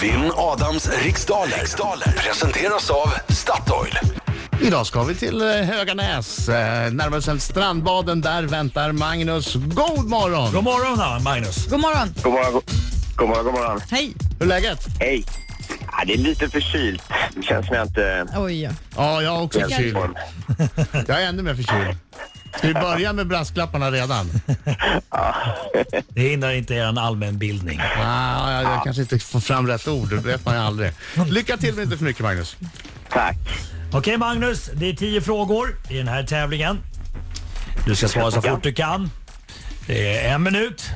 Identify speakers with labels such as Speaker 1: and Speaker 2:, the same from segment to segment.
Speaker 1: Vinn Adams riksdaler. riksdaler presenteras av Statoil.
Speaker 2: Idag ska vi till eh, Höganäs, eh, närmare bestämt strandbaden. Där väntar Magnus. God morgon!
Speaker 3: God morgon här, Magnus.
Speaker 4: God morgon.
Speaker 5: God morgon, go- god morgon, god morgon.
Speaker 4: Hej.
Speaker 2: Hur är läget?
Speaker 5: Hej. Ja, det är lite förkylt. Det känns som jag inte...
Speaker 4: Oj, ja.
Speaker 2: Ja, jag är också
Speaker 5: helt i
Speaker 2: förkyld.
Speaker 5: form.
Speaker 2: Jag är ännu mer förkyld. Ska vi börja med brasklapparna redan?
Speaker 3: Det hindrar inte er allmänbildning.
Speaker 2: Ah, jag, jag kanske inte får fram rätt ord, det vet man ju aldrig. Lycka till men inte för mycket Magnus.
Speaker 5: Tack.
Speaker 3: Okej Magnus, det är tio frågor i den här tävlingen. Du ska svara så fort du kan. Det är en minut.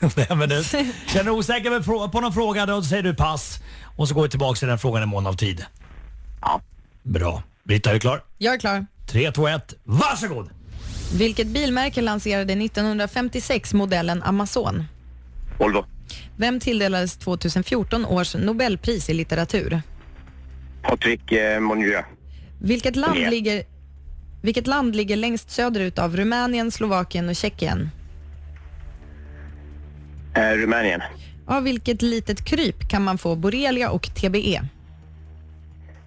Speaker 3: Det är en minut. Känner du osäker på- på någon fråga, då säger du pass. Och så går vi tillbaka till den frågan i mån av tid.
Speaker 5: Ja.
Speaker 3: Bra. Britta, är du klar?
Speaker 4: Jag är klar.
Speaker 3: 3, 2, 1. Varsågod!
Speaker 4: Vilket bilmärke lanserade 1956 modellen Amazon?
Speaker 5: Volvo.
Speaker 4: Vem tilldelades 2014 års Nobelpris i litteratur?
Speaker 5: Patrik eh, Monnier.
Speaker 4: Vilket land,
Speaker 5: Ja.
Speaker 4: ligger, vilket land ligger längst söderut av Rumänien, Slovakien och Tjeckien?
Speaker 5: Eh, Rumänien.
Speaker 4: Av vilket litet kryp kan man få borrelia och TBE?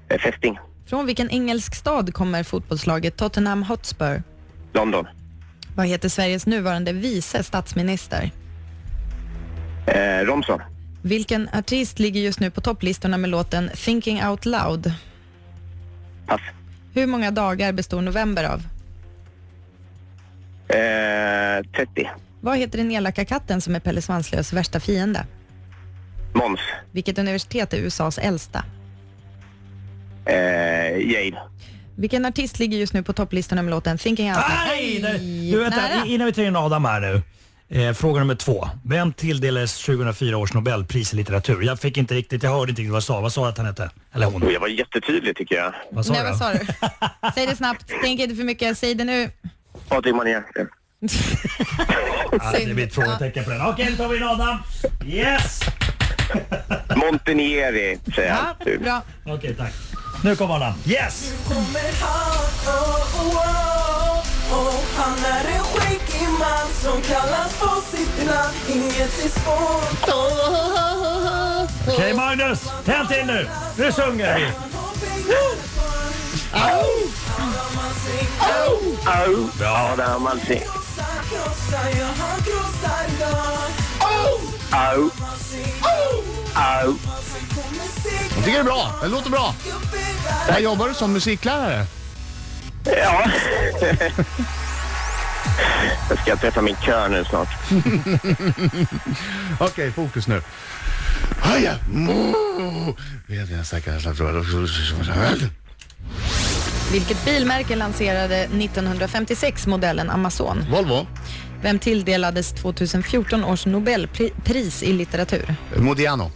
Speaker 5: Eh, fästing.
Speaker 4: Från vilken engelsk stad kommer fotbollslaget Tottenham Hotspur?
Speaker 5: London.
Speaker 4: Vad heter Sveriges nuvarande vice statsminister?
Speaker 5: Eh, Romson.
Speaker 4: Vilken artist ligger just nu på topplistorna med låten Thinking Out Loud?
Speaker 5: Pass.
Speaker 4: Hur många dagar består november av?
Speaker 5: Eh, 30.
Speaker 4: Vad heter den elaka katten som är Pelle Svanslös värsta fiende?
Speaker 5: Måns.
Speaker 4: Vilket universitet är USAs äldsta?
Speaker 5: Eh, Yale.
Speaker 4: Vilken artist ligger just nu på topplistorna med låten Thinking Out Loud?
Speaker 3: Nej!
Speaker 4: Aj,
Speaker 3: nej. Du, vänta,
Speaker 4: nära.
Speaker 3: innan vi tar in Adam här nu. Eh, fråga nummer två. Vem tilldelades 2004 års Nobelpris i litteratur? Jag fick inte riktigt, jag hörde inte riktigt vad jag sa. Vad sa jag att han hette? Eller
Speaker 5: Och
Speaker 3: hon?
Speaker 5: jag var jättetydlig tycker jag.
Speaker 3: Vad sa
Speaker 4: Nej,
Speaker 3: jag?
Speaker 4: vad sa du? Säg det snabbt, tänk inte för mycket, säg det nu.
Speaker 5: Patrik Monnier.
Speaker 3: Ja, det blir ett frågetecken på den. Okej, då tar vi in Adam. Yes!
Speaker 5: Montenieri säger
Speaker 4: Ja,
Speaker 5: jag. Typ.
Speaker 4: bra.
Speaker 3: Okej, tack. Nu kommer Adam. Yes!
Speaker 6: kommer han, oh, oh, oh, oh. Han är en skäggig man som kallas på sitt namn Inget är svårt
Speaker 3: Okej Magnus, tänd till nu. Nu sjunger vi.
Speaker 6: Han har pengar för Han har man sin
Speaker 5: Au. Ja, där har man sin.
Speaker 6: Krossar, krossar, ja han krossar dem
Speaker 5: Au.
Speaker 6: Man ser,
Speaker 5: Au.
Speaker 6: man ser kommer
Speaker 2: Jag tycker det
Speaker 6: segra
Speaker 2: är bra, det låter bra.
Speaker 6: upp i världen
Speaker 2: Där jobbar du som musiklärare.
Speaker 5: Ja. jag ska träffa min kör nu snart.
Speaker 2: Okej, fokus nu. Höja! Mo! Vet ni, jag säkert har sagt-
Speaker 4: Vilket bilmärke lanserade 1956 modellen Amazon?
Speaker 2: Volvo,
Speaker 4: Vem tilldelades 2014 års Nobelpris i litteratur?
Speaker 2: Modiano,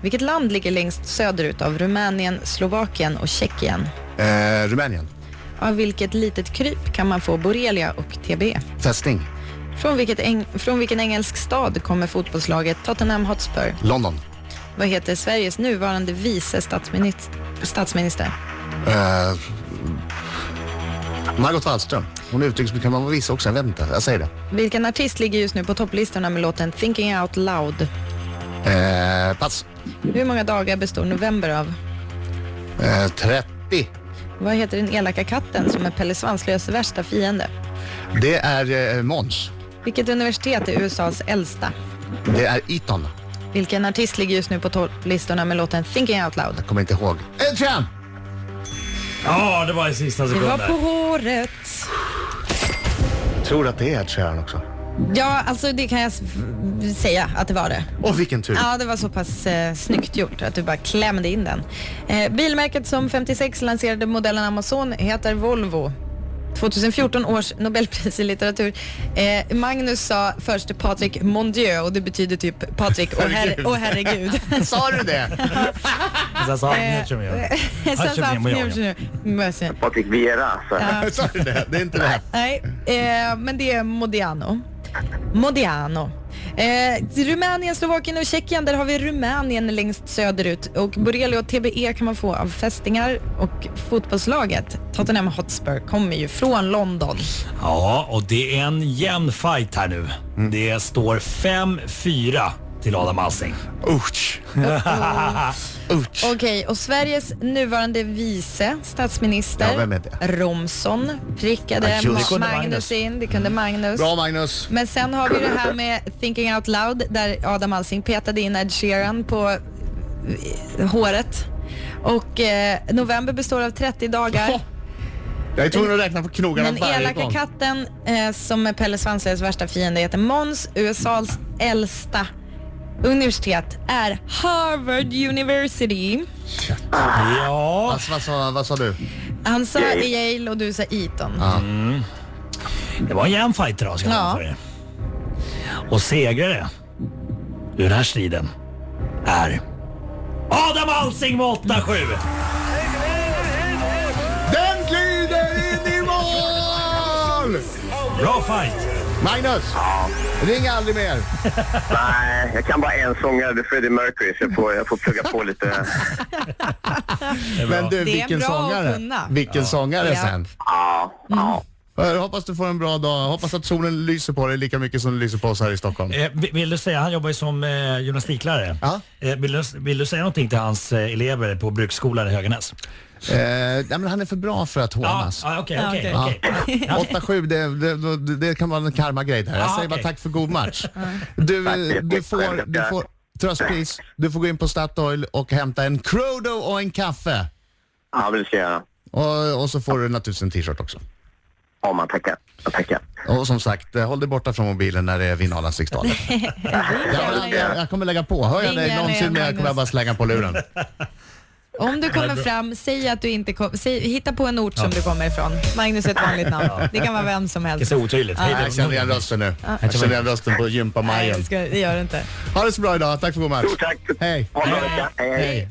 Speaker 4: Vilket land ligger längst söderut av Rumänien, Slovakien och Tjeckien?
Speaker 2: eh, Rumänien,
Speaker 4: Av vilket litet kryp kan man få borrelia och TB?
Speaker 2: Fästing,
Speaker 4: Från, vilket eng- från vilken engelsk stad kommer fotbollslaget Tottenham Hotspur?
Speaker 2: London,
Speaker 4: Vad heter Sveriges nuvarande vice statsminister? statsminister?
Speaker 2: eh, Margot Wallström. Hon är utrikesminister, kan man vara vice också? Jag vet inte, jag säger det.
Speaker 4: Vilken artist ligger just nu på topplistorna med låten Thinking Out Loud?
Speaker 2: Eh, pass.
Speaker 4: Hur många dagar består november av?
Speaker 2: Eh, 30.
Speaker 4: Vad heter den elaka katten som är Pelle Svanslös värsta fiende?
Speaker 2: Det är eh, Måns.
Speaker 4: Vilket universitet är USAs äldsta?
Speaker 2: Det är Eton.
Speaker 4: Vilken artist ligger just nu på topplistorna med låten Thinking Out Loud?
Speaker 2: Jag kommer inte ihåg. Eh, Ed Sheeran!
Speaker 3: Ja, det var i sista
Speaker 4: Det var
Speaker 3: sekunden.
Speaker 4: på håret.
Speaker 2: Tror att det är Ed Sheeran också.
Speaker 4: Ja, alltså det kan jag s- säga att det var det.
Speaker 2: Åh, vilken tur.
Speaker 4: Ja, det var så pass eh, snyggt gjort att du bara klämde in den. Eh, bilmärket som 56 lanserade modellen Amazon heter Volvo. 2014 års Nobelpris i litteratur. Eh, Magnus sa först Patrik Mondieu och det betyder typ Patrik och
Speaker 2: Herregud.
Speaker 4: herregud. Åh, herregud. Eh,
Speaker 2: Sa du det?
Speaker 3: Sen Alltså, sa han, nu tror jag. Ja,
Speaker 4: Sen sa han,
Speaker 3: Jimmy och jag.
Speaker 4: "Njur, njur, njur."
Speaker 5: Patrik alltså. Viera. Så.
Speaker 2: Sa du det? Det är inte rätt.
Speaker 4: Nej, eh, men det är Modiano. Modiano. Eh, Rumänien, Slovakien och Tjeckien, där har vi Rumänien längst söderut. Och borrelia och TBE kan man få av fästingar och fotbollslaget Tottenham Hotspur kommer ju från London.
Speaker 3: Ja, och det är en jämn fight här nu. Det står 5-4 till Adam Alsing.
Speaker 2: Usch. Usch.
Speaker 4: Okej, och Sveriges nuvarande vice
Speaker 2: Ja,
Speaker 4: statsminister
Speaker 2: vem är det?
Speaker 4: Romson
Speaker 2: Ja,
Speaker 4: prickade
Speaker 2: just det. Det
Speaker 3: kunde Magnus.
Speaker 4: Magnus in. Det kunde Magnus.
Speaker 2: Bra Magnus.
Speaker 4: Men sen har vi det här med Thinking Out Loud där Adam Alsing petade in Ed Sheeran på eh, håret. Och eh, november består av 30 dagar.
Speaker 2: Åh, Jag är tvungen att räkna på knogarna
Speaker 4: Den
Speaker 2: varje
Speaker 4: elaka
Speaker 2: gång.
Speaker 4: katten eh, som är Pelle Svanslös värsta fiende heter Mons. USAs äldsta universitet är Harvard University.
Speaker 3: Ja,
Speaker 2: Alltså, vad, sa, vad sa du?
Speaker 4: Han sa Yale och du sa Eton.
Speaker 3: det var en jämn fight idag ska jag
Speaker 4: Ja.
Speaker 3: säga för er. Och segrare ur den här striden är Adam Alsing med 8-7.
Speaker 2: Den glider in i mål!
Speaker 3: Bra fight.
Speaker 2: Magnus, ring aldrig mer.
Speaker 5: Nej, jag kan bara en sångare, det är Freddie Mercury, så jag får, jag får plugga på lite.
Speaker 3: Det är bra.
Speaker 2: Men du,
Speaker 4: Det är
Speaker 2: vilken
Speaker 4: bra att
Speaker 2: sångare.
Speaker 4: kunna.
Speaker 2: Vilken sångare
Speaker 4: Ja.
Speaker 2: sen.
Speaker 5: Ja, ja.
Speaker 2: Jag hoppas du får en bra dag. Jag Hoppas att solen lyser på dig lika mycket som den lyser på oss här i Stockholm.
Speaker 3: Eh, vi- vill du säga, han jobbar ju som eh, gymnastiklärare.
Speaker 2: Ja.
Speaker 3: Eh, vill, du, vill du säga någonting till hans eh, elever på bruksskolan i Höganäs?
Speaker 2: Eh, nej, men han är för bra för att hånas.
Speaker 3: Ja, ja, okej,
Speaker 4: Ja,
Speaker 3: okej.
Speaker 4: okej.
Speaker 3: okej.
Speaker 2: 8-7, det, det, det- det kan vara en karma-grej där. Jag
Speaker 3: Ja,
Speaker 2: säger bara
Speaker 3: okej.
Speaker 2: tack för god match. Du,
Speaker 5: Tack så
Speaker 2: du
Speaker 5: jättemycket
Speaker 2: får,
Speaker 5: själv.
Speaker 2: du får tröstpris. Du får gå in på Statoil och hämta en Crodo och en kaffe.
Speaker 5: Ja, men det ska jag göra.
Speaker 2: Och, och så får du naturligtvis en t-shirt också.
Speaker 5: Ja, man tackar. Jag tackar.
Speaker 2: Och som sagt, eh, håll dig borta från mobilen när det är Vinalans riksdaler. jag, jag, jag kommer lägga på. Hör jag
Speaker 4: Ring
Speaker 2: dig
Speaker 4: gärna
Speaker 2: någonsin
Speaker 4: igen,
Speaker 2: mer kommer jag
Speaker 4: Magnus.
Speaker 2: bara slänga på luren.
Speaker 4: Om du kommer fram, säg att du inte kom, säg, hitta på en ort som du kommer ifrån. Magnus är ett vanligt namn. Det kan vara vem som
Speaker 3: Det är
Speaker 4: helst.
Speaker 3: så otydligt. Hej då.
Speaker 2: Jag känner igen rösten nu. Jag känner igen rösten på
Speaker 4: Nej,
Speaker 2: gympamajen.
Speaker 4: det, ska, det gör det inte.
Speaker 2: Ha det så bra idag. Tack för god match.
Speaker 5: Stort tack.
Speaker 2: Hej.
Speaker 5: Ha en bra vecka. Hej, hej.
Speaker 2: Hej.